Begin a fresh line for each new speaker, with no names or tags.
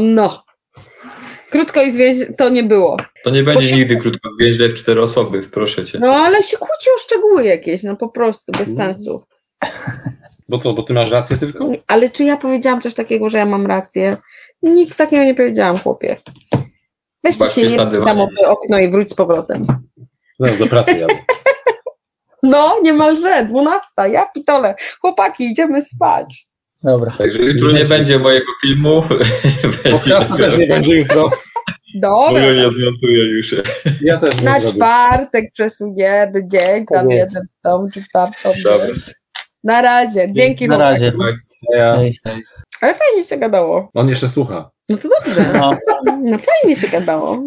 No. Krótko i zwięźle to nie było.
To nie będzie
Bo się-
nigdy krótko więźle w cztery osoby, proszę cię.
No ale się kłóci o szczegóły jakieś, no po prostu, bez sensu.
Bo co, bo ty masz rację tylko?
Ale czy ja powiedziałam coś takiego, że ja mam rację? Nic takiego nie powiedziałam, chłopie. Weź
Baśki
się
z
nie
Tadywanem.
tam o to okno i wróć z powrotem.
Zaraz do pracy jadę.
No, niemalże, 12, ja pitole. Chłopaki, idziemy spać.
Dobra.
Także jutro nie będzie mojego filmu. będzie
Podcastu też nie będzie jutro.
Dobra.
Mówię, nie zmontuję już.
Ja też nie
Na
zrobię.
czwartek przesuniemy dzień, tam
Powiedz.
jeden w tą czy tam tą.
Dobra.
Na razie, dzięki.
Na
Lubek.
razie.
Ja.
Hej, hej.
Ale fajnie się gadało.
On jeszcze słucha.
No to dobrze,
No.
no fajnie się gadało.